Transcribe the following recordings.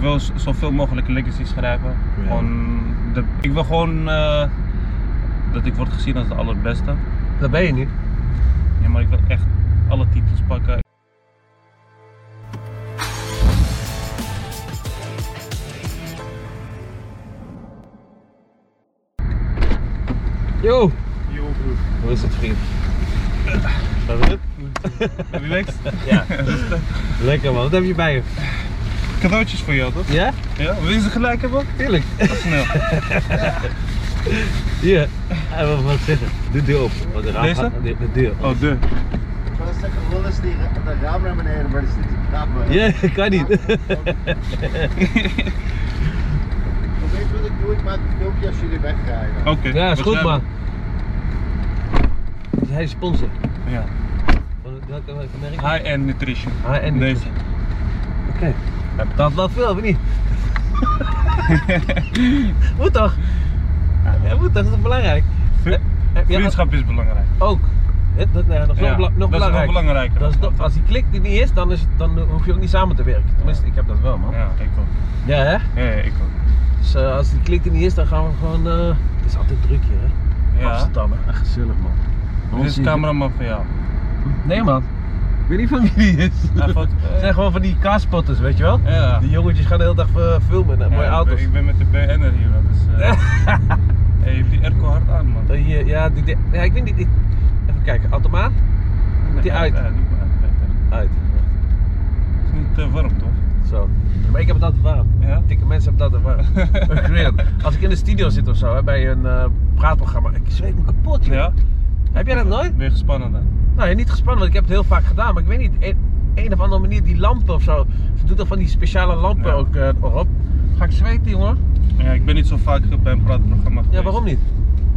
wil z- zoveel mogelijk legacies schrijven. Ja. Gewoon de, ik wil gewoon eh, dat ik word gezien als de allerbeste. Daar ben je nu. Ja, maar ik wil echt alle titels pakken. Yo! Hoe is het vriend? Dat is het? Relaxed. Ja. Lekker man, wat heb je bij je? Cadeautjes voor jou toch? Ja? Ja? Wil je ze gelijk hebben? Tuurlijk. Snel. Hier. Hij wil wat zeggen. Doe de deur open. Want de raam Deze? gaat- De, de deur. Oh, de. Gewoon een stukje lul is die de raam naar beneden, maar dat is niet te knap. hè. Ja, kan niet. Maar Weet je wat ik doe? Ik maak een filmpje als jullie wegrijden. Oké. Ja, is wat goed jij- man. Dus Hij is sponsor. Ja. Van het- welke welke merk? High-end nutrition. H&M. Deze. Oké. Dat betaalt wel veel, of niet? moet toch? Ja, moet toch, dat is toch belangrijk? Vri- Heb jij- Vriendschap is belangrijk. Ook. Hè, Dat, nee, nog, Ja, nog, bela- dat nog is nog belangrijker. belangrijker. Dat is nog- als die klik die niet is, dan, is, dan hoef je ook niet samen te werken. Tenminste, ik heb dat wel, man. Ja, Ja, ik ook. hè? Ja, ja, ik ook. Dus eh, als die klik er niet is, dan gaan we gewoon... eh, Het is altijd druk hier, hè? Ja. Amsterdam, hè? Echt gezellig, man. Dit is cameraman voor jou. Nee, man. Ik weet niet van wie die is. Hij foto- Het zijn gewoon van die kaaspotters, weet je wel? Ja. Die jongetjes gaan de hele dag eh, filmen, hè, Ja, mooie ik ben- auto's. Ik ben met de BN'er hier, man, dus... eh hey, je hebt die airco hard aan, man. Eh, hier, ja, die, die- ja, ik weet niet. die- even kijken, automaat? Nee, eh. die ja, uit. Ja, doe maar uit. uit, uit. Uit. Het is niet te warm, toch? Zo. Maar ik heb het altijd warm. Ja? Dikke mensen hebben het altijd warm. Echt weird. Als ik in de studio zit of zo, hè, bij een eh, praatprogramma, ik zweet me kapot. joh. Ja? Heb jij dat nooit? Ben je gespannen dan? Nou, niet gespannen, want ik heb het heel vaak gedaan, maar ik weet niet, een, een of andere manier, die lampen of zo. Ze doet toch van die speciale lampen Ja. ook eh, op. Ga ik zweten, jongen? Ja, ik ben niet zo vaak bij een praatprogramma geweest. Ja, waarom niet?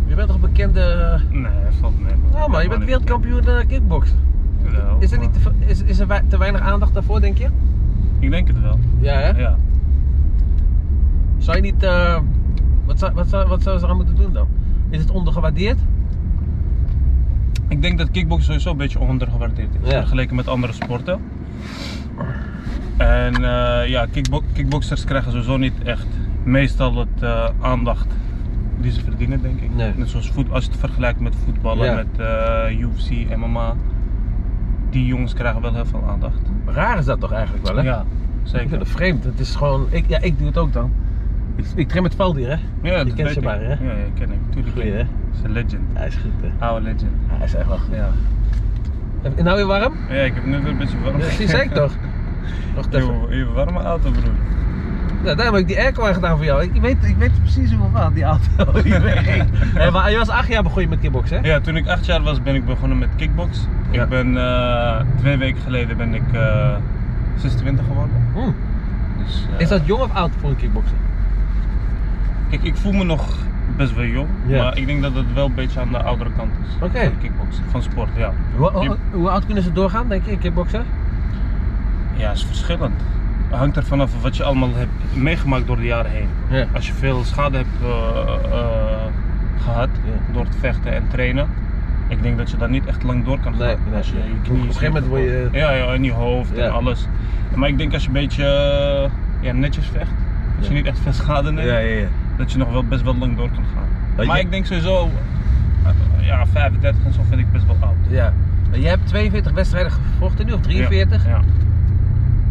Je bent toch een bekende. eh, Nee, valt mee, man. Nou, man, je bent ik- wereldkampioen eh, kickboxen. Ja, Is er, maar- niet te, ve- is, is er wei- te weinig aandacht daarvoor, denk je? Ik denk het wel. Ja, hè? Ja. Zou je niet. eh, wat, zou, wat, zou, wat zouden ze eraan moeten doen dan? Is het ondergewaardeerd? Ik denk dat kickboxen sowieso een beetje ondergewaardeerd is Ja. vergeleken met andere sporten. En eh, ja, kickbo kickboxers krijgen sowieso niet echt meestal het eh, aandacht die ze verdienen, denk ik. Nee. Net zoals voet als je het vergelijkt met voetballen, Ja. met eh, UFC, MMA. Die jongens krijgen wel heel veel aandacht. Raar is dat toch eigenlijk wel, hè? Ja, Ik vind zeker. het vreemd. Het is gewoon. Ik, ja, ik doe het ook dan. Ik, ik trim het veld hier, hè? Ja, dat je kent weet ze ik. maar, hè? Ja, ja, ken ik. Tuurlijk. Goeie, hè? is een legend. Hij is goed, hè? Oude legend. Hij is echt wel goed. Ja. Heb je nou weer warm? ja, ik heb nu weer een beetje warm. Precies, zei ik toch? Wacht even. Je, je warme auto, broer. Ja, daarom heb ik die airco gedaan voor jou. Ik weet, ik weet precies hoeveel van die auto die wegging. Hé, maar je was acht jaar begon je met kickboxen, hè? Ja, toen ik acht jaar was ben ik begonnen met kickbox. Ja. Ik ben eh, twee weken geleden ben ik eh 26 geworden. Hm. Dus, eh, Is dat jong of oud voor een kickbokser? Kijk, ik voel me nog best wel jong, Ja. maar ik denk dat het wel een beetje aan de oudere kant is. Oké. Van kickboksen, van sport, ja. Hoe, hoe- Die- hoe oud kunnen ze doorgaan, denk je, in kickboksen? Ja, is verschillend. Hangt er vanaf wat je allemaal hebt meegemaakt door de jaren heen. Ja. eh, Als je veel schade hebt eh, eh, gehad Ja. door het vechten en trainen, ik denk dat je daar niet echt lang door kan gaan. Nee, nee. Als je je knieën Op een gegeven ziet moment of- word je- Ja, ja, en je hoofd Ja. en alles. Maar ik denk als je een beetje eh, ja, netjes vecht, als je Ja. niet echt veel schade neemt, ja. dat je nog wel best wel lang door kan gaan. Ja, maar je- ik denk sowieso, eh, ja, 35 en zo vind ik best wel oud. Ja. En jij hebt 42 wedstrijden gevochten nu, of 43. Ja,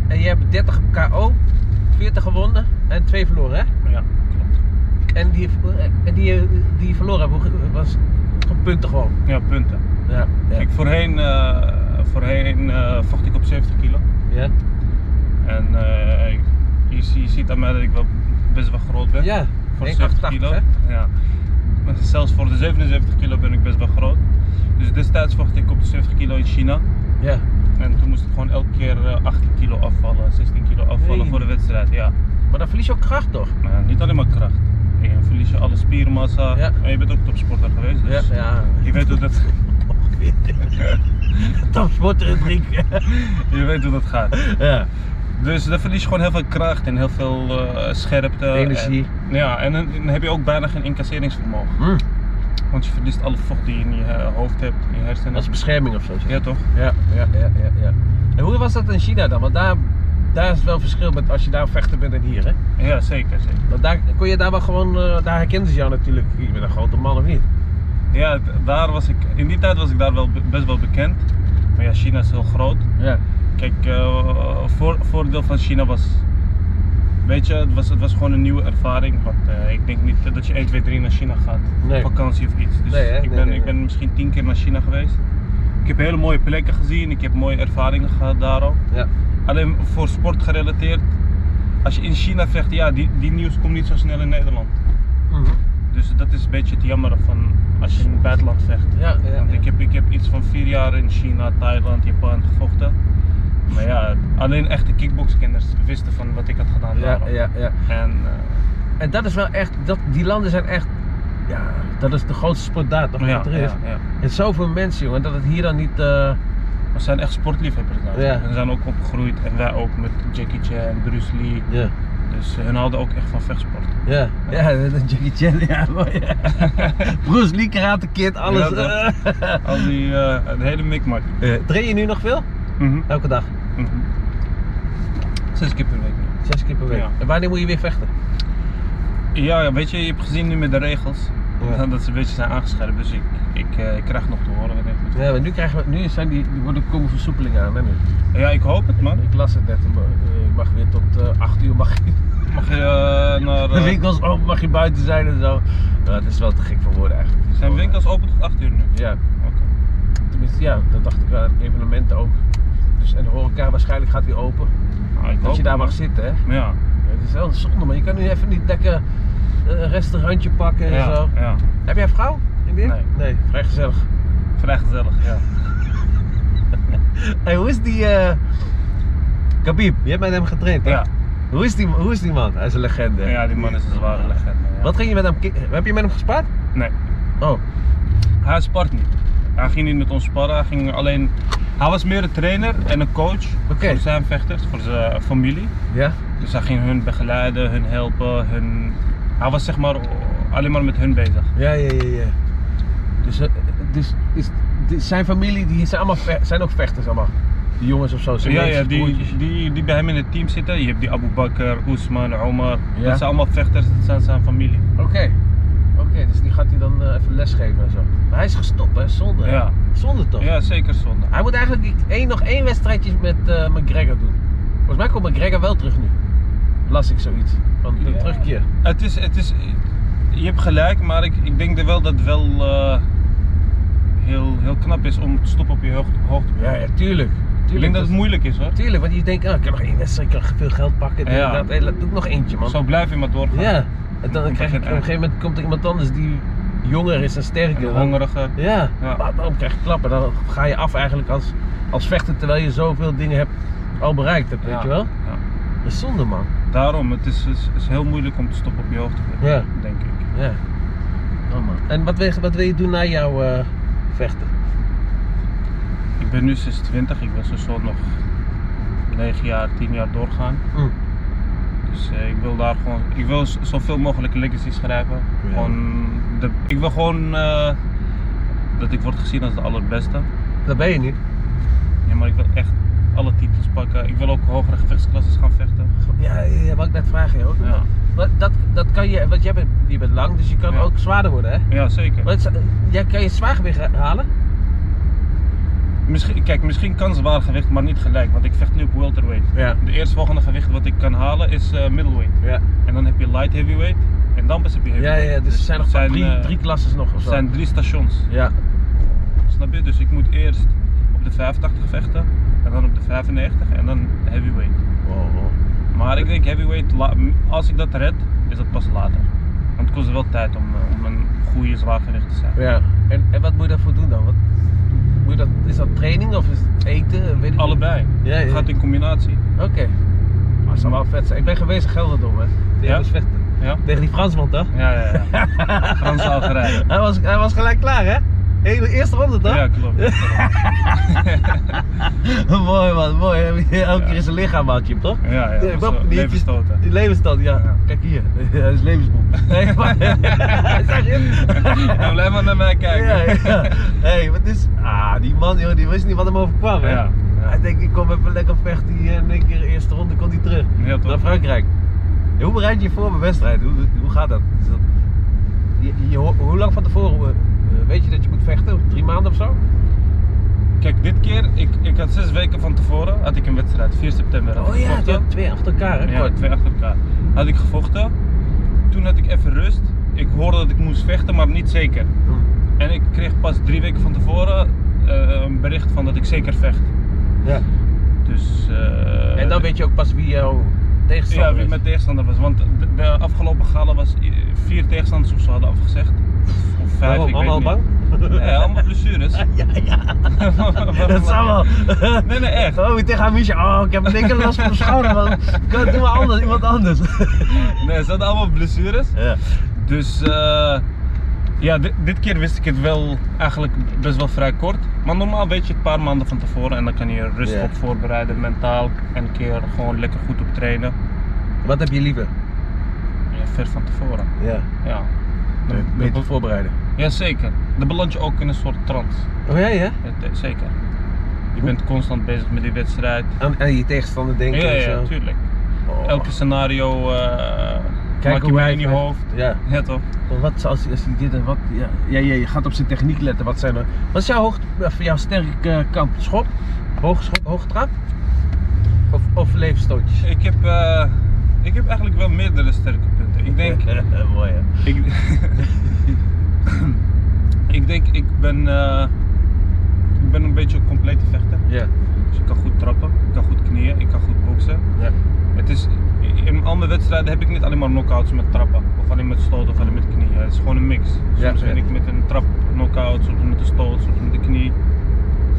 En jij hebt 30 KO, 40 gewonnen en 2 verloren, ja, hè? ja klopt. En die, en die, die je verloren hebben, hoe- was gewoon punten gewoon. Ja, punten. Ja. Ja. Kijk, voorheen, eh, voorheen eh, vocht ik op 70 kilo. Ja. En eh, ik- je, zie- je ziet aan mij dat ik wel best wel groot ben. ja. voor 70 1,88, kilo. hè? Ja. Maar Zelfs voor de 77 kilo ben ik best wel groot. Dus destijds vocht ik op de 70 kilo in China. Ja. En toen moest ik gewoon elke keer eh, 18 kilo afvallen, 16 kilo afvallen Nee. voor de wedstrijd. Ja. Maar dan verlies je ook kracht toch? Maar niet alleen maar kracht. Je verlies je alle spiermassa. Ja. En je bent ook topsporter geweest. Dus Ja. je weet hoe dat. Topsporter en drinken. Je weet hoe dat gaat. ja. Dus dan verlies je gewoon heel veel kracht en heel veel eh, scherpte. Energie. En- ja, en dan, dan heb je ook bijna geen incasseringsvermogen. Hm. Want je verliest alle vocht die je in je eh, hoofd hebt, in je hersenen. Als bescherming of zo. zeg. Ja, toch? Ja, ja, ja, ja. En hoe was dat in China dan? Want daar, daar is het wel verschil met als je daar vechter bent en hier. Hè? Ja, zeker, zeker. Want daar kon je daar wel gewoon, eh, daar herkenden ze jou natuurlijk. Je bent een grote man of niet? Ja, d- daar was ik, in die tijd was ik daar wel be- best wel bekend. Maar ja, China is heel groot. Ja. Kijk, eh, voor, voordeel van China was. Weet je, het was, het was gewoon een nieuwe ervaring. Want eh, ik denk niet dat je 1, 2, 3 naar China gaat. Nee. Op vakantie of iets. Dus Nee, hè? ik, Nee, ben, nee, ik ben nee. misschien 10 keer naar China geweest. Ik heb hele mooie plekken gezien. Ik heb mooie ervaringen gehad daar ook. Ja. Alleen voor sport gerelateerd. Als je in China vecht, ja, die, die nieuws komt niet zo snel in Nederland. Mhm. Dus dat is een beetje het jammer van als je in het buitenland vecht. Ja, ja, Want ja. Ik, heb, ik heb iets van vier jaar in China, Thailand, Japan gevochten. Maar ja, alleen echte kickboxkenners wisten van wat ik had gedaan Ja, daarom. ja, ja. En eh, En dat is wel echt, dat, die landen zijn echt, ja, dat is de grootste sport daar toch? ja, wat er is. ja, ja. En zoveel mensen, jongen, dat het hier dan niet. eh, We zijn echt sportliefhebbers daar. Ja. En we zijn ook opgegroeid en wij ook met Jackie Chan, Bruce Lee. ja, Dus hun houden ook echt van vechtsport. ja, ja, dat Jackie Chan, ja, mooi. ja. Bruce Lee, Karate Kid, alles. Ja, dat- eh. Al die eh, een hele mikmak. Eh, train je nu nog veel? Mhm, Elke dag, mhm. Zes keer per week. zes keer per week. Ja. En wanneer moet je weer vechten? Ja, ja, weet je, je hebt gezien nu met de regels Ja. dat ze een beetje zijn aangescherpt. Dus ik, ik, eh, ik krijg nog te horen wat ik moet doen. Ja, maar nu, krijgen we, nu zijn die, die worden, komen versoepelingen aan, hè, nu. Ja, ik hoop het man. Ik las het net, maar, eh, je mag weer tot eh 8 uur mag je Mag je eh, naar... de eh, winkels open, mag je buiten zijn en zo. Ja, het is wel te gek voor woorden eigenlijk. Het is zijn wel, winkels open tot 8 uur nu? eh, Ja, Oké. tenminste, ja, dat dacht ik wel. en Evenementen ook. Dus, en de horeca waarschijnlijk gaat weer open. Ah, ik Dat hoop je daar het, mag zitten, hè. man. Ja, Het is wel een zonde, maar je kan nu even niet lekker eh, een restaurantje pakken en ja, zo. ja. Heb jij een vrouw? In dit? Nee. Nee, vrij gezellig. Vrij gezellig, ja. Hey, hoe is die eh Khabib? Je hebt met hem getraind, hè? Ja, Hoe is, die, hoe is die man? Hij is een legende. hè? ja die man is een zware legende. ja. Wat ging je met hem... ki- Heb je met hem gespaard? Nee, Oh. hij spart niet. Hij ging niet met ons sparren, hij ging alleen... Hij was meer een trainer en een coach Oké. voor zijn vechters, voor zijn familie. Ja? Dus hij ging hun begeleiden, hun helpen, hun... Hij was zeg maar alleen maar met hun bezig. Ja, ja, ja, ja. Dus, eh, dus is, dus zijn familie, die zijn, allemaal ve- zijn ook vechters allemaal? Die jongens of zo? zijn Ja, ja broertjes, broertjes. die, die, die bij hem in het team zitten. Je hebt die Abu Bakr, Oesman, Omar. Ja. Dat zijn allemaal vechters, dat zijn zijn familie. Oké. Oké, dus die gaat hij dan eh, even lesgeven en zo. Maar hij is gestopt, hè? Zonde. hè? Ja. Zonde toch? Ja, zeker zonde. Hij moet eigenlijk die één, nog één wedstrijdje met eh, McGregor doen. Volgens mij komt McGregor wel terug nu. Las ik zoiets. Van de Ja. terugkeer. Het is, het is, je hebt gelijk, maar ik, ik denk er wel dat het wel eh, heel, heel knap is om te stoppen op je hoogte. hoogtepunt. Ja, ja, tuurlijk. ik Tuurlijk, denk dat het moeilijk is hoor. tuurlijk, want je denkt, oh, ik heb nog één wedstrijd, ik kan veel geld pakken. dit, Ja. dat, Hé, laat- doe ik nog eentje, man. Zo blijf je maar doorgaan. Ja, en dan Dan krijg je, begint op een gegeven moment komt er iemand anders die jonger is en En sterker. de Dan- hongerige. Ja, Ja. Maar daarom krijg je klappen. Dan ga je af eigenlijk als, als vechter terwijl je zoveel dingen hebt al bereikt hebt, weet je wel? Ja. Dat is zonde man. Daarom, het is, is, is heel moeilijk om te stoppen op je hoogtepunt, Ja. denk ik. Ja. Oh, man. En wat wil, je- wat wil je doen na jouw eh, vechten? Ik ben nu 26, ik wil zo zo nog 9 jaar, 10 jaar doorgaan. Mm. Dus eh, ik wil daar gewoon, ik wil z- zoveel mogelijk legacy schrijven. Ja. Gewoon de, ik wil gewoon eh, dat ik word gezien als de allerbeste. Dat ben je niet. Ja, maar ik wil echt alle titels pakken. Ik wil ook hogere gevechtsklasses gaan vechten. Ja, ja, ja, wat ik net vraag joh. Ja, Maar dat, dat kan je, want jij bent, je bent lang, dus je kan Ja. ook zwaarder worden hè? ja zeker. Wat, is- jij kan je zwaargewicht halen? Misschien, kijk, misschien kan zwaar gewicht, maar niet gelijk. Want ik vecht nu op welterweight. Ja. De eerstvolgende gewicht wat ik kan halen is eh, middleweight. Ja, En dan heb je light heavyweight. En dan pas heb je ja, heavyweight. ja, dus er zijn nog het drie, eh, drie klasses nog of het zo. zijn drie stations. Ja, Snap je? Dus ik moet eerst op de 85 vechten. En dan op de 95 en dan heavyweight. Wow, wow. Maar ik denk heavyweight, la- als ik dat red, is dat pas later. Want het kost wel tijd om, eh, om een goede zwaargewicht te zijn. Ja. En, en wat moet je daarvoor doen dan? Wat, moet je dat, is dat training of is het eten? Weet ik Allebei. Ja, Het ja. gaat in combinatie. niet. Oké. Maar het zou wel vet zijn. Ik ben geweest in Gelderdom, hè. Tegen, Ja? die vechter. Ja? Tegen die Fransman, toch? Ja, ja, ja. Frans Algerije. hij, was, hij was gelijk klaar, hè? Hele eerste ronde, toch? Ja, klopt. mooi, man. Mooi. hè? Elke Ja. keer is een lichaam aan je, toch? Ja, ja. ik ben Zo, benieuwd. levensstoten. Die levensstand, ja. Ja. Kijk hier. dat is levensboom. Nee, maar... zeg je? Nou, blijf maar naar mij kijken. Ja, ja. Hé, hey, wat is. Ah, die man, joh, die wist niet wat hem overkwam, hè? Ja. Ja. Hij denkt, ik kom even lekker vechten hier en een keer de eerste ronde komt hij terug Ja, toch? naar Frankrijk. Ja, hoe bereid je je voor op een wedstrijd? Hoe, hoe gaat dat? Is dat je, je ho- hoe lang van tevoren eh, weet je dat je moet vechten? Drie maanden of zo? Kijk, dit keer, ik, ik had zes weken van tevoren had ik een wedstrijd, 4 september. Had ik gevochten. Oh die had twee achter elkaar, hè? Ja, Kort. twee achter elkaar. Had ik gevochten. Toen had ik even rust. Ik hoorde dat ik moest vechten, maar niet zeker. Hmm. En ik kreeg pas drie weken van tevoren eh, een bericht van dat ik zeker vecht. Ja. Dus, eh, En dan weet je ook pas wie jouw tegenstander ja, wie is. mijn tegenstander was. Want de, de afgelopen gala was i- vier tegenstanders of ze hadden afgezegd. Of, of vijf, Waarom? ik weet Allemaal niet. bang? Nee, allemaal blessures. Ja, ja. Dat zou wel. Nee, nee, echt. Oh, tegen Amisha. Oh, ik heb een dikke last van mijn schouder, man. Kan- Doe maar anders, iemand anders. Nee, ze hadden allemaal blessures. Ja. Dus eh, ja, di- dit keer wist ik het wel eigenlijk best wel vrij kort. Maar normaal weet je het een paar maanden van tevoren en dan kan je er rustig Ja. op voorbereiden, mentaal. En een keer gewoon lekker goed op trainen. Wat heb je liever? Ja, ver van tevoren. Ja. Ja. Dan- Beter voorbereiden. ja, zeker. Dan beland je ook in een soort trance. Oh ja, ja? Ja, te- zeker. Je bent constant bezig met die wedstrijd. Aan, aan je tegenstander denken ja, en ja, zo. tuurlijk. Oh. Elke scenario eh maak je hoe mee hij in je vecht. hoofd. Ja. Ja, toch? Maar Wat zou- als hij als hij dit en wat. Ja, ja, ja, je gaat op zijn techniek letten. Wat zijn er? Wat is jouw, hoog, of jouw sterke kant? Schop? Hoogschop? Hoogtrap? Of, of levenstootjes? Ik heb, eh, ik heb eigenlijk wel meerdere sterke punten. Ik denk, Mooi hè? Ik, ik denk, ik ben, eh, ik ben een beetje een complete vechter. Ja. Dus ik kan goed trappen, ik kan goed knieën, ik kan goed boksen. ja. Het is, in andere wedstrijden heb ik niet alleen maar knockouts met trappen, of alleen met stoten of alleen met knieën. Het is gewoon een mix. Soms Ja, ben ja. ik met een trap knockout, soms met een stoot, soms met de knie.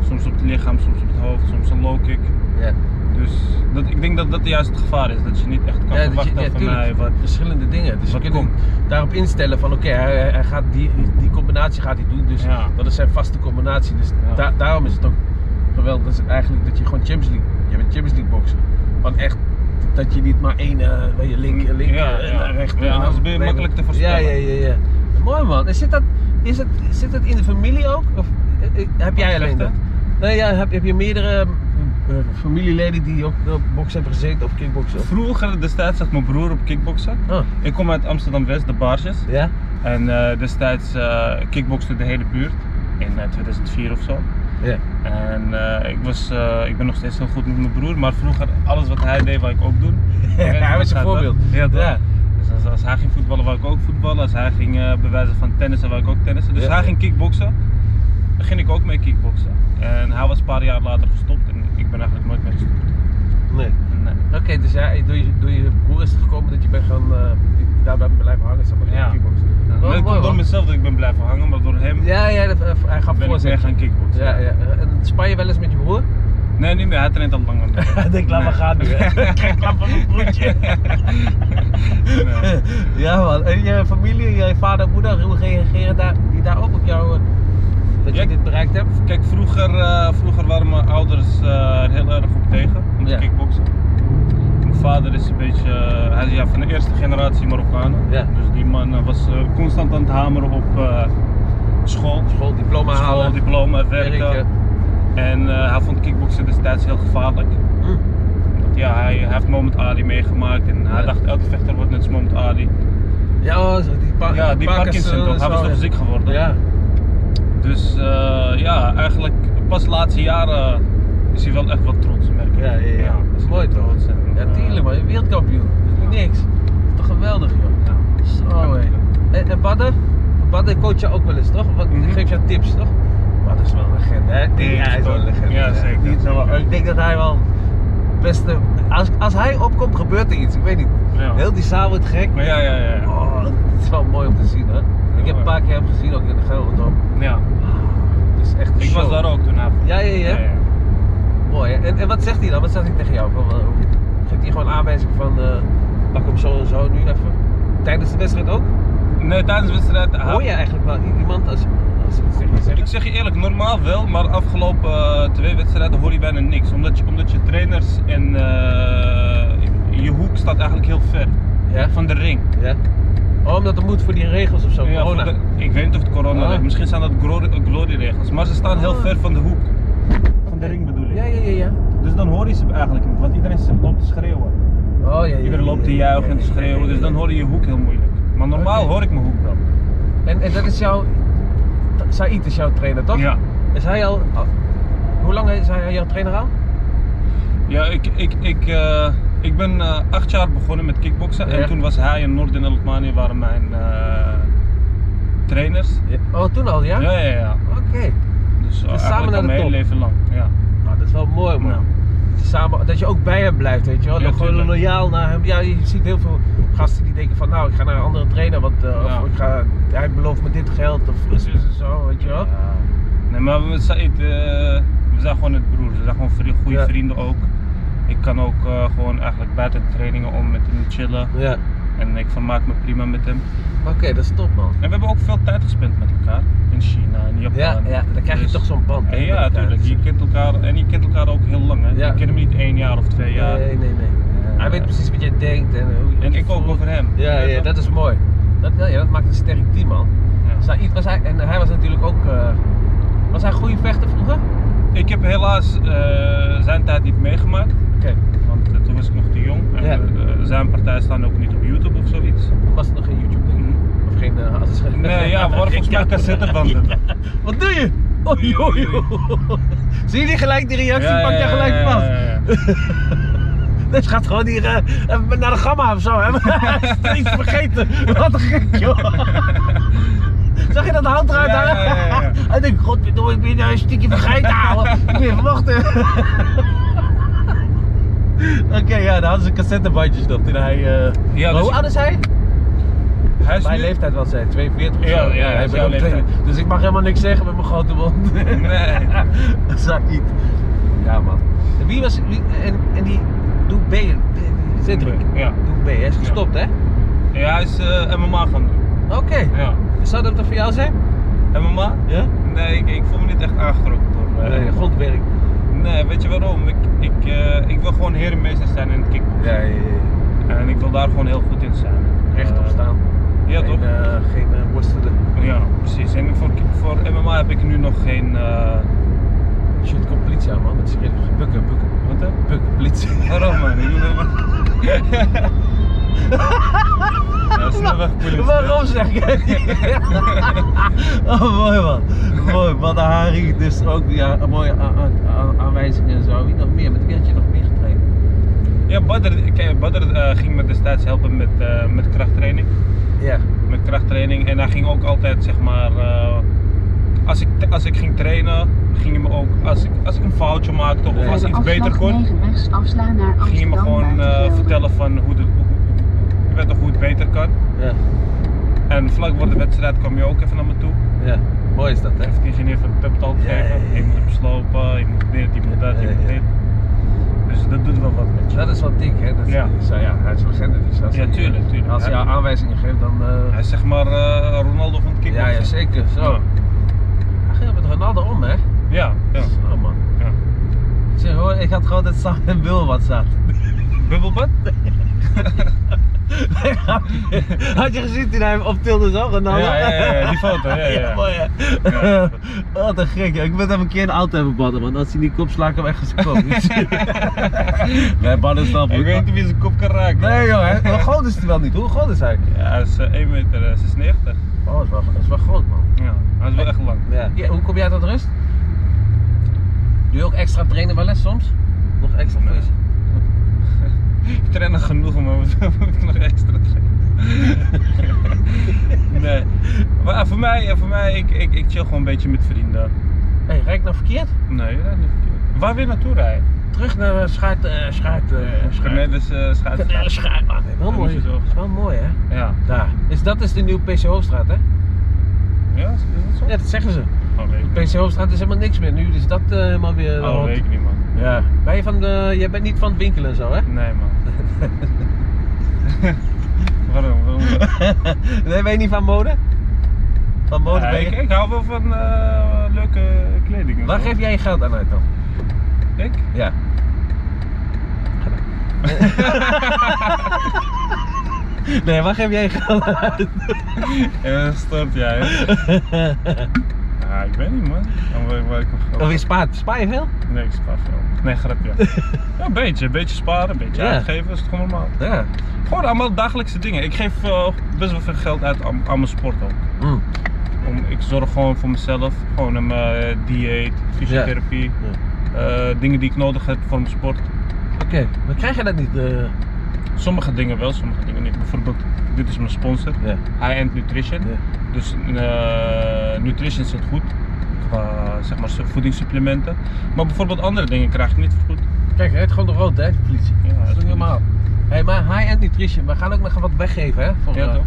Soms op het lichaam, soms op het hoofd, soms een low kick. ja. Dus dat, ik denk dat dat juist het gevaar is. Dat je niet echt kan Ja, dat je- verwachten ja, van tuurlijk. mij wat, Verschillende dingen. Dus Wat je kunt komt. daarop instellen van oké, hij, hij gaat die, die combinatie gaat hij doen. Dus Ja. dat is zijn vaste combinatie. Dus Ja. da- daarom is het ook geweldig. Dat is eigenlijk dat je gewoon Champions League. Je bent Champions League boksen. Van echt dat je niet maar één eh, weet je link, Mm, link eh, ja, en ja. rechter. Ja, en anders ben je dan- makkelijk te voorspellen. Ja, ja, ja, ja. Mooi man. En zit dat, is dat, zit dat in de familie ook? Of eh, eh, heb jij alleen dat? vechten? Nee, ja, heb, heb je meerdere eh, familieleden die ook op boksen hebben gezeten of kickboksen? Of... Vroeger destijds zat mijn broer op kickboksen. Oh, Ik kom uit Amsterdam West, de Baarsjes. ja? En eh, destijds eh kickbokste de hele buurt in eh, 2004 of zo. Ja. En eh, ik, was, eh, ik ben nog steeds heel goed met mijn broer, maar vroeger alles wat hij deed, wou ik ook doen. hij was een voorbeeld. Ja, toch? Ja. Dus als, als hij ging voetballen, wou ik ook voetballen. Als hij ging eh, bewijzen van tennissen, wou ik ook tennissen. Dus Ja. hij ging kickboksen, begin ik ook mee kickboksen. En hij was een paar jaar later gestopt en ik ben eigenlijk nooit meer gestopt. Nee. En, eh, Oké, dus ja, door, je, door je broer is het gekomen dat je bent gaan, eh, daar bij blijven hangen, zeg maar, in Ja. de kickboxen. nou, Wel dat mooi, komt door man. mezelf dat ik ben blijven hangen, maar door hem Ja, ja, dat, eh, hij ben gaf ik weer voorzet. gaan kickboksen. Ja, ja. En spaar je wel eens met je broer? Nee, niet meer. Hij traint al lang mee. Hij denkt, laat maar gaan nu, hè. Geen klap van mijn broertje. Nee. ja man, en je familie, je vader en moeder, hoe reageren daar, die daar ook op jou, eh, dat Ja, je ik- dit bereikt hebt? Kijk, vroeger, eh, vroeger waren mijn ouders eh, er heel erg op tegen om te Ja. kickboksen. Mijn vader is een beetje, eh, hij is ja, van de eerste generatie Marokkanen. Ja. Dus die man eh, was eh, constant aan het hameren op eh, school. School, diploma School, halen, diploma, werken. werken. En eh, hij vond kickboksen destijds heel gevaarlijk. Hm. Want ja, hij, hij heeft Moment Ali meegemaakt en hij Ja. dacht elke vechter wordt net als Moment Ali. Ja, oh, zo, die, pa- Ja, die Parkinson, Parkinson toch, hij was zo, toch ziek geworden. Ja. Dus eh, ja, eigenlijk pas de laatste jaren is hij wel echt wat trots, merk ik. Ja, ja, ja. Dat is mooi toch? Ja, tuurlijk man, je wereldkampioen. Dat is niet Ja. niks. Dat is toch geweldig joh. Zo hé. En, en Badder? Badder coach je ook wel eens toch? Of Wat, Mhm. Geeft jou tips toch? Badder is wel een legende hè? Die, Ja, hij is wel een legende. ja, hè? zeker, Die is wel- zeker. ik denk dat hij wel beste... Als, als hij opkomt gebeurt er iets, ik weet niet. Ja. Heel die zaal wordt gek. Maar ja, ja, ja. ja. Oh, het is wel mooi om te zien hè. Ik heb een paar keer hem gezien ook in de Gelderdom. ja. Het is echt Ik een show. was daar ook toen avond. Ja, ja, ja. Mooi, hè? En, en wat zegt hij dan? Wat zegt hij tegen jou? Van, eh, geeft hij gewoon aanwijzing van eh, pak hem zo en zo nu even? Tijdens de wedstrijd ook? Nee, tijdens de wedstrijd. hij- Hoor je eigenlijk wel i- iemand als, als ze iets tegen je Ik zegt? zeg je eerlijk, normaal wel, maar afgelopen eh, twee wedstrijden hoor je bijna niks. Omdat je, omdat je trainers en eh, je hoek staat eigenlijk heel ver Ja? van de ring. ja? Oh, omdat het moet voor die regels of zo, Ja, corona. voor de- ik weet niet of het corona Ah. is. Misschien zijn dat glory- glory-regels. Maar ze staan heel Ah. ver van de hoek. Van de ring bedoel ik. Ja, ja, ja, ja. Dus dan hoor je ze eigenlijk niet, want iedereen zit- loopt te schreeuwen. Oh, ja, ja, Iedereen loopt te ja, ja, juichen en te ja, ja, schreeuwen, ja, dus ja. dan hoor je je hoek heel moeilijk. Maar normaal Oké. hoor ik mijn hoek wel. En, en dat is jouw... Said is jouw trainer, toch? Ja. Is hij al... al- Hoe lang is hij jouw trainer al? Ja, ik, ik, ik, eh, ik ben eh, acht jaar begonnen met kickboksen en Ja. toen was hij en Noord en Alkmaar waren mijn eh, trainers. Oh, toen al, ja? ja, ja. ja. Oké. Dus, eh, Dus samen eigenlijk naar al de mijn hele top. leven lang. Ja. Nou, dat is wel mooi, man. Ja. Dat je samen, dat je ook bij hem blijft, weet je wel. Ja, dat gewoon tuurlijk. loyaal naar hem. Ja, je ziet heel veel gasten die denken van, nou, ik ga naar een andere trainer, want eh, Ja. of ik ga, hij belooft me dit geld of zus en zo, weet je Ja. wel. Nee, maar we, Said, eh, we zijn gewoon het broers. We zijn gewoon vri- goede Ja. vrienden ook. Ik kan ook eh, gewoon eigenlijk buiten de trainingen om met hem chillen. Ja. En ik vermaak me prima met hem. Oké, dat is top, man. En we hebben ook veel tijd gespend met elkaar. In China, in Japan. Ja, ja, dan krijg je Dus- toch zo'n band. hè, Eh, met Ja, elkaar. natuurlijk. Je kent elkaar en je kent elkaar ook heel lang. Hè? Ja. Je kent hem niet één jaar of twee jaar. Nee, nee, nee. Hij weet precies wat jij denkt en hoe je En je ik ook voelt. over hem. Ja, ja, dat is mooi. Dat, ja, dat maakt een sterk team, man. Ja. Said was hij, en hij was natuurlijk ook. eh, was hij een goede vechter vroeger? Oké. Ik heb helaas eh, zijn tijd niet meegemaakt, want eh, toen was ik nog te jong. En Ja. eh, zijn partij staan ook niet op YouTube of zoiets. Was er nog geen YouTube-ding? Mhm. Of geen. Uh, Nee, ja, we waren volgens mij cassettebanden. Wat doe je? Oei, Oei, oei, oei. oei. Zie je gelijk die reactie? Ja, Pak ja, jij gelijk ja, vast. ja, ja. Dus gaat gewoon hier eh, even naar de gamma of zo, hè? Hij is steeds vergeten. Wat een gek, joh. Zag je dat hand eruit Ja, hangen? ja, ja, ja. Hij denkt, godverdomme, ik ben nou een stukje vergeten, ouwe. Ik ben even wachten. Oké, ja, dan hadden ze cassettebandjes dat toen hij... eh, Ja, maar dus- hoe oud is hij? Hij is Mijn nu- leeftijd was hij, 42 of Ja, zo. ja, hij hij is ben jouw ook leeftijd. 42. Dus ik mag helemaal niks zeggen met mijn grote mond. Nee. Saïd. Ja, man. En Wie was. Wie, en, en die. Doe B. Cedric. Ja. Doe B. Hij is gestopt, hè? ja, hij is eh, MMA gaan doen. Oké. Ja. Zou dat dan voor jou zijn? MMA? Ja? Nee, ik, ik voel me niet echt aangetrokken door. eh, Nee, grondwerk. nee, weet je waarom? Ik, ik, eh, ik wil gewoon herenmeester zijn in het kickboxen. Ja, ja, ja. En ik wil daar gewoon heel goed in zijn. Rechtop Eh, staan. ja, geen, toch? eh, geen eh, worstelen. Ja, precies. En voor, voor MMA heb ik nu nog geen. eh Shit, komt politie aan, man. Dat is geen- Bukken, bukken. wat dan? Bukken, politie. Waarom man? Ik bedoel. ja, snel weg, politie. Waarom zeg je? oh, mooi man. Mooi, Badahari. Dus ook ja, mooie a- a- a- aanwijzingen en zo. Wie nog meer? Met wie had je nog meer getraind? Ja, Badr, kijk, Badr eh, ging me destijds helpen met, eh, met krachttraining. Ja. Met krachttraining. En hij ging ook altijd, zeg maar. eh, als, ik, als ik ging trainen, ging hij me ook. Als ik, als ik een foutje maakte of Ja. als iets Bij de beter afslag kon, negen rechts afslaan naar ging je me Amsterdam gewoon eh, Buitenveldert. vertellen van hoe, de, hoe, hoe- hoe- hoe het beter kan. Ja. En vlak voor de wedstrijd kwam je ook even naar me toe. Ja. Mooi is dat, hè? Even die ingenieur van pep talk Ja, ja, geven. ja. Je moet hem slopen, je moet dit, je moet dat, je Ja, moet ja. dit. Dus dat doet wel wat met je. Dat is wel dik, hè? Dat is, Ja. zo, ja, hij is een legende. Dus als Ja, hij- tuurlijk, tuurlijk. Als hij jou aanwijzingen geeft, dan... eh, Hij is zeg maar eh, Ronaldo van het ja, kickboxen. ja, zeker. Zo. Ja. Hij ging met Ronaldo om, hè? Ja, ja. Zo, man. Ja. Ik zeg hoor, ik had gewoon dat Sam en Bill wat zat. Bubbelbad? had je gezien toen hij hem optilde zo, Ronaldo? Ja, ja, ja, ja, die foto, ja, ja, ja. mooi, hè? Ja. Wat een gek, ja. ik moet hem een keer een auto hebben badden, man. Als hij niet komt, sla ik hem echt eens kop. nee, badden is wel Ik weet niet of je zijn kop kan raken. Nee, joh, hè. Hoe groot is hij wel niet? Hoe groot is hij? Ja, hij is eh, 1,96 meter. Oh, dat is wel, dat is wel groot, man. Ja, hij is wel echt lang. Ja. hoe kom jij tot rust? Doe je ook extra trainen wel eens soms? Nog extra Nee. pushen? Ik train nog genoeg, maar wat moet ik nog extra trainen? nee. Maar eh, voor mij, eh, voor mij ik, ik, ik chill gewoon een beetje met vrienden. Hé, hey, rijd ik nou verkeerd? Nee, dat is niet verkeerd. Waar weer naartoe rijden? Terug naar eh, schuit, eh schuit, eh schuit. Cornelis eh schuit. Kanelen schuit, man. Hey, Ah, Wel Dan mooi. moet je zo. Dat is wel mooi, hè? Ja. Daar. Dus dat is de nieuwe PC Hoofdstraat, hè? Ja, is is dat zo? Ja, dat zeggen ze. Oh, weet ik niet. PC Hoofdstraat is helemaal niks meer. Nu is dat eh, helemaal weer Oh, rond. weet ik niet, man. Ja. Ben je van de... Jij bent niet van het winkelen en zo, hè? Nee, man. Waarom? Waarom? nee, ben je niet van mode? Van mode Ja, ben ik, je... ik hou wel van eh, leuke kleding. en Waar zo. geef jij je geld aan uit dan? ik? Ja. nee, waar geef jij je geld aan uit? Ja, dat stort jij. Ja, Ja, ik weet niet man. Dan wil ik- wil ik hem Of in spaart, spaar je veel? Nee, ik spaar veel. Nee, grapje. ja, een beetje. Een beetje sparen, een beetje Ja. uitgeven is het gewoon normaal. Ja. Gewoon allemaal dagelijkse dingen. Ik geef eh, best wel veel geld uit aan, aan mijn sport ook. Mm. Om, ik zorg gewoon voor mezelf. Gewoon een mijn dieet, fysiotherapie. eh, dingen die ik nodig heb voor mijn sport. Oké, maar krijg je dat niet? eh, Sommige dingen wel, sommige dingen niet. Bijvoorbeeld, dit is mijn sponsor, Ja. High End Nutrition. Ja. Dus eh, nutrition zit goed. Qua zeg maar, voedingssupplementen. Maar bijvoorbeeld andere dingen krijg ik niet voor goed. Kijk, hij heeft gewoon de rood, hè, de politie. Ja, dat is het toch is- niet normaal. hey, maar high-end nutrition, we gaan ook nog wat weggeven, hè? Voor, Ja, eh, toch?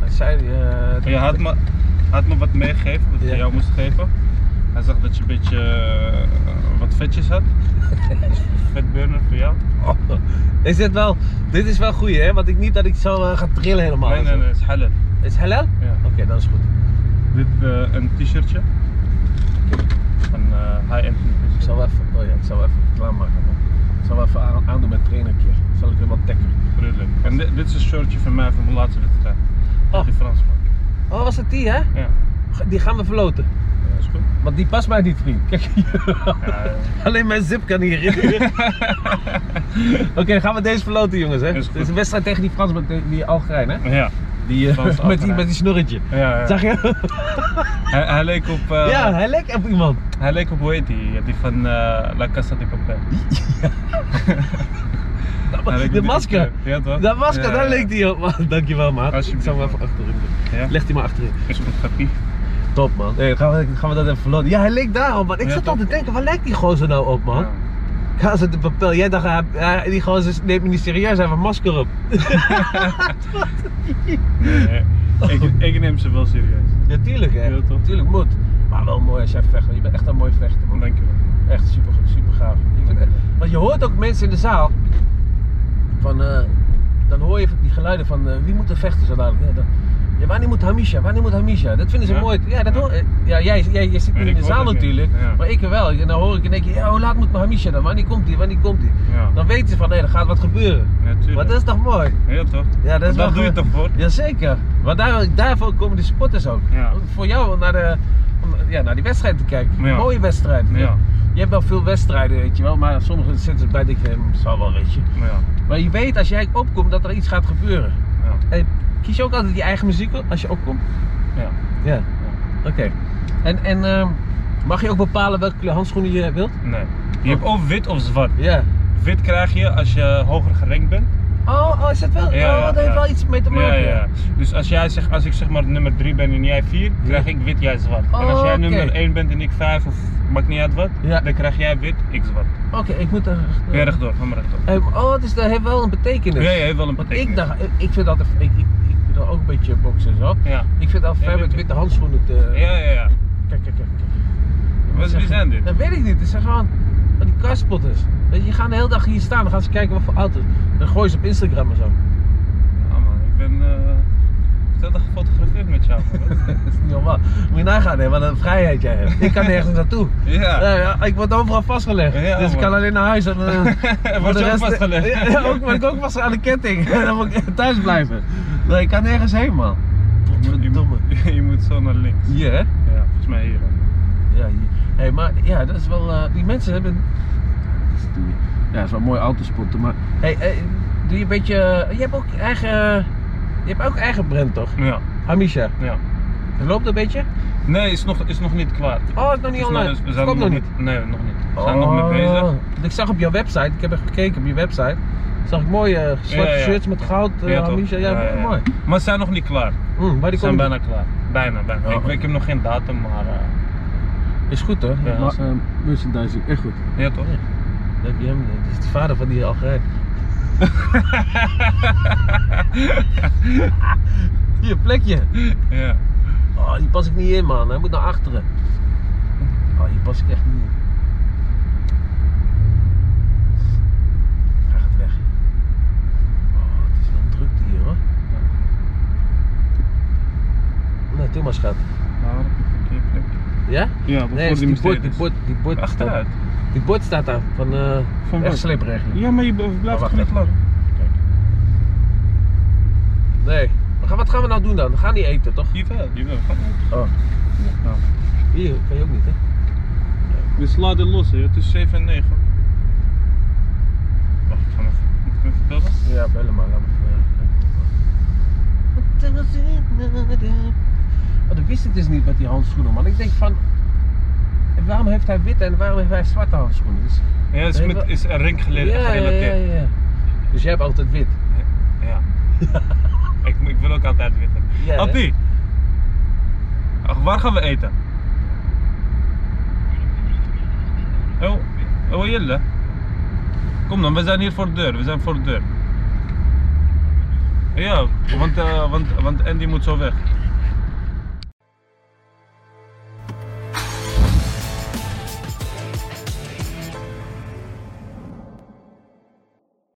hij zei, eh, dat- Je had me, had me wat meegegeven, wat ik Ja. aan jou moest geven. Hij zag dat je een beetje eh, wat vetjes had. Vetburner voor jou. Oh, is dit wel, dit is wel goed, hè? Want ik niet dat ik zo eh, ga trillen helemaal. nee, nee, nee, is halal. Is het halal? Ja. Oké, dat is goed. Dit eh, een t-shirtje. Van eh, high-end Ik nutrition. zal wel even, oh ja, ik zal wel even klaarmaken. man. Ik zal wel even aan- aandoen met trainer een keer. Zal ik helemaal tackelen. Gruwelijk. En dit, dit is een shirtje van mij van mijn laatste wedstrijd. Oh. Oh. Die Fransman. Oh, was het die, hè? Ja, Die gaan we verloten. dat is goed. Want die past mij niet, vriend. Kijk, Ja, alleen mijn zip kan hierin. Oké, dan gaan we deze verloten, jongens, hè? Is goed. Dit is een wedstrijd tegen die Frans met die Algerijn, hè? ja. Die, eh, Frans met, die, Algerijn. met die snorretje. ja, ja. Zag je? Hij, hij leek op, eh, ja, hij leek op iemand. hij leek op hoe heet die? Die van eh, La Casa de Papel. Hij leek op De die- masker. Ja toch? Dat was Ja, daar ja. leek die op. man. Dankjewel, maat. Ik Alsjeblieft. zal hem even achterin doen. Ja. Leg die maar achterin. Is goed, grappie. Top, man. Hey, gaan, we, gaan we dat even verloten? Ja, hij leek daarop, man. Ik Ja, zat toch? al te denken, waar lijkt die gozer nou op, man? Ga ze de papel. Jij dacht, hij- hij- die gozer neemt me niet serieus, hij heeft een masker op. Nee, ik, ik neem ze wel serieus. Ja, tuurlijk, hè. Ja, toch? Tuurlijk moet. Maar wel mooi als jij vecht, want je bent echt een mooi vechter, man. Dankjewel. Echt super, super gaaf. Ik vind echt- Want je hoort ook mensen in de zaal. Van, eh, dan hoor je die geluiden van eh, wie moet er vechten zo dadelijk. Ja, dan, ja, wanneer moet Hamisha? Wanneer moet Hamisha? Dat vinden ze Ja. mooi. Ja, dat Ja. hoor, ja jij, jij, jij Ja, zit niet ik in de hoor zaal dat niet. natuurlijk, Ja. maar ik wel. En dan hoor ik en denk je, ja, hoe laat moet Hamisha dan? Wanneer komt die? Wanneer komt die? Ja, Dan weten ze van, nee, er gaat wat gebeuren. natuurlijk. Maar dat is toch mooi? Ja toch? Ja, dat is wel doe je goed. toch voor? Jazeker. Want daar, daarvoor komen de spotters ook. Ja. Om- Voor jou om naar, de, om, ja, naar die wedstrijd te kijken. Ja. Mooie wedstrijd. Ja. Je hebt wel veel wedstrijden, weet je wel, maar sommige zitten bij ik eh, zal wel, weet je. Maar ja, Maar je weet als jij opkomt dat er iets gaat gebeuren. ja. En kies je ook altijd je eigen muziek op als je opkomt? ja. Ja. Oké. En, en ehm, mag je ook bepalen welke kleur handschoenen je wilt? Nee. Oh. Je hebt of wit of zwart. Ja. Wit krijg je als je hoger gerankt bent. Oh, oh is dat wel? Ja, Ja, ja, dat heeft ja. wel iets mee te Ja, maken. ja. Dus als, jij zeg, als ik zeg maar nummer 3 ben en jij 4, krijg ik wit, jij zwart. en als Oh, jij oké. nummer 1 bent en ik 5 of maakt niet uit wat, Ja. dan krijg jij wit, ik zwart. Oké, ik moet er. Ja, rechtdoor, van maar rechtdoor. Eh, oh, dus dat heeft wel een betekenis. Ja, je hebt wel een Want betekenis. ik dacht, ik- ik vind dat, ik, ik, ik doe dan ook een beetje boksen en zo. Ja. Ik vind dat Ja, ver dit- met witte handschoenen te... Ja, ja, ja. Kijk, kijk, kijk. kijk. Wat Zeg- wie zijn dit? Dat weet ik niet. Het zijn gewoon van die karspotters. Weet je, die gaan de hele dag hier staan. Dan gaan ze kijken wat voor auto's. Dan gooien ze op Instagram en zo. Ja Ah, man, ik ben eh heel dag gefotografeerd met jou. man. Wat is dit? Dat is niet normaal. Moet je nagaan, hè, wat een vrijheid jij hebt. Ik kan nergens naartoe. ja. Ja, ja, ik word overal vastgelegd. Ja, dus ik man. kan alleen naar huis. En, eh, voor je ook rest- vastgelegd? Ja, ja, ook, word ik ook vast aan de ketting. Dan moet ik thuis blijven. Nee, ik kan nergens heen, man. Je Verdomme. moet- Je moet zo naar links. Hier, hè? Ja, volgens mij hier. Ja, hier. Hey, maar ja, dat is wel. eh, die mensen hebben. Ja, dat is wel mooi autospotten, maar. Hey, eh, doe je een beetje. eh, je hebt ook eigen. eh, Je hebt ook eigen brand, toch? Ja, Hamisha. ja. Het loopt een beetje? Nee, is nog, is nog niet klaar. Oh, het is nog niet Is online. nog- we Het zijn komt nog niet. Nee, nog niet. eh, We zijn nog mee bezig. Oh, Ik zag op jouw website, ik heb even gekeken op je website. Zag ik mooie eh, zwarte Ja, ja. shirts met goud, eh, Ja, toch? Hamisha. Ja, Ja, ja, ja. mooi. Maar ze zijn nog niet klaar. Hm, maar Ze die zijn komt. bijna klaar. Bijna, bijna. Oh. Ik, ik heb nog geen datum, maar... eh Is goed, hè? Ja, maar, is- eh, merchandising, echt goed. ja toch? Ja. Dat heb je hem, dat is de vader van die Algerijn. Hier, plekje. ja. Oh, die pas ik niet in, man. Hij moet naar achteren. Oh, hier pas ik echt niet in. Hij gaat weg. Oh, het is wel druk hier, hoor. Nou, doe maar, schat. Daar heb ik een keer plek. Ja? Ja, Nee, Nou, die het is die bord, die Mercedes. bord, die bord. Achteruit. staat- Die bord staat daar, van, eh Van wat? rechtsleepregeling. Ja, maar je Maar blijft wacht toch niet even. lang? Nee. Maar ga- wat gaan we nou doen dan? We gaan niet eten, toch? Jawel, jawel. Ga maar. Oh. Nou. Hier kan je ook niet, hè? Dus sla dit los, hè. Het is 7 en 9. Wacht, ik ga hem even. Moet ik hem even bellen? Ja, bellen maar. Laat maar. Oh, dat wist ik dus niet met die handschoenen, man. Ik denk van. en Waarom heeft hij witte en waarom heeft hij zwarte handschoenen? Dus, Ja, het is, Nee, met, wel- is een ring geleden, ja, ja, ja, gerelateerd. ja. Dus jij hebt altijd wit. Ja. ik, ik wil ook altijd wit hebben. Ja, hè? Appie! Ach, waar gaan we eten? Oh, oh Jelle. Kom dan, we zijn hier voor de deur. We zijn voor de deur. Ja, want, eh, want, want Andy moet zo weg.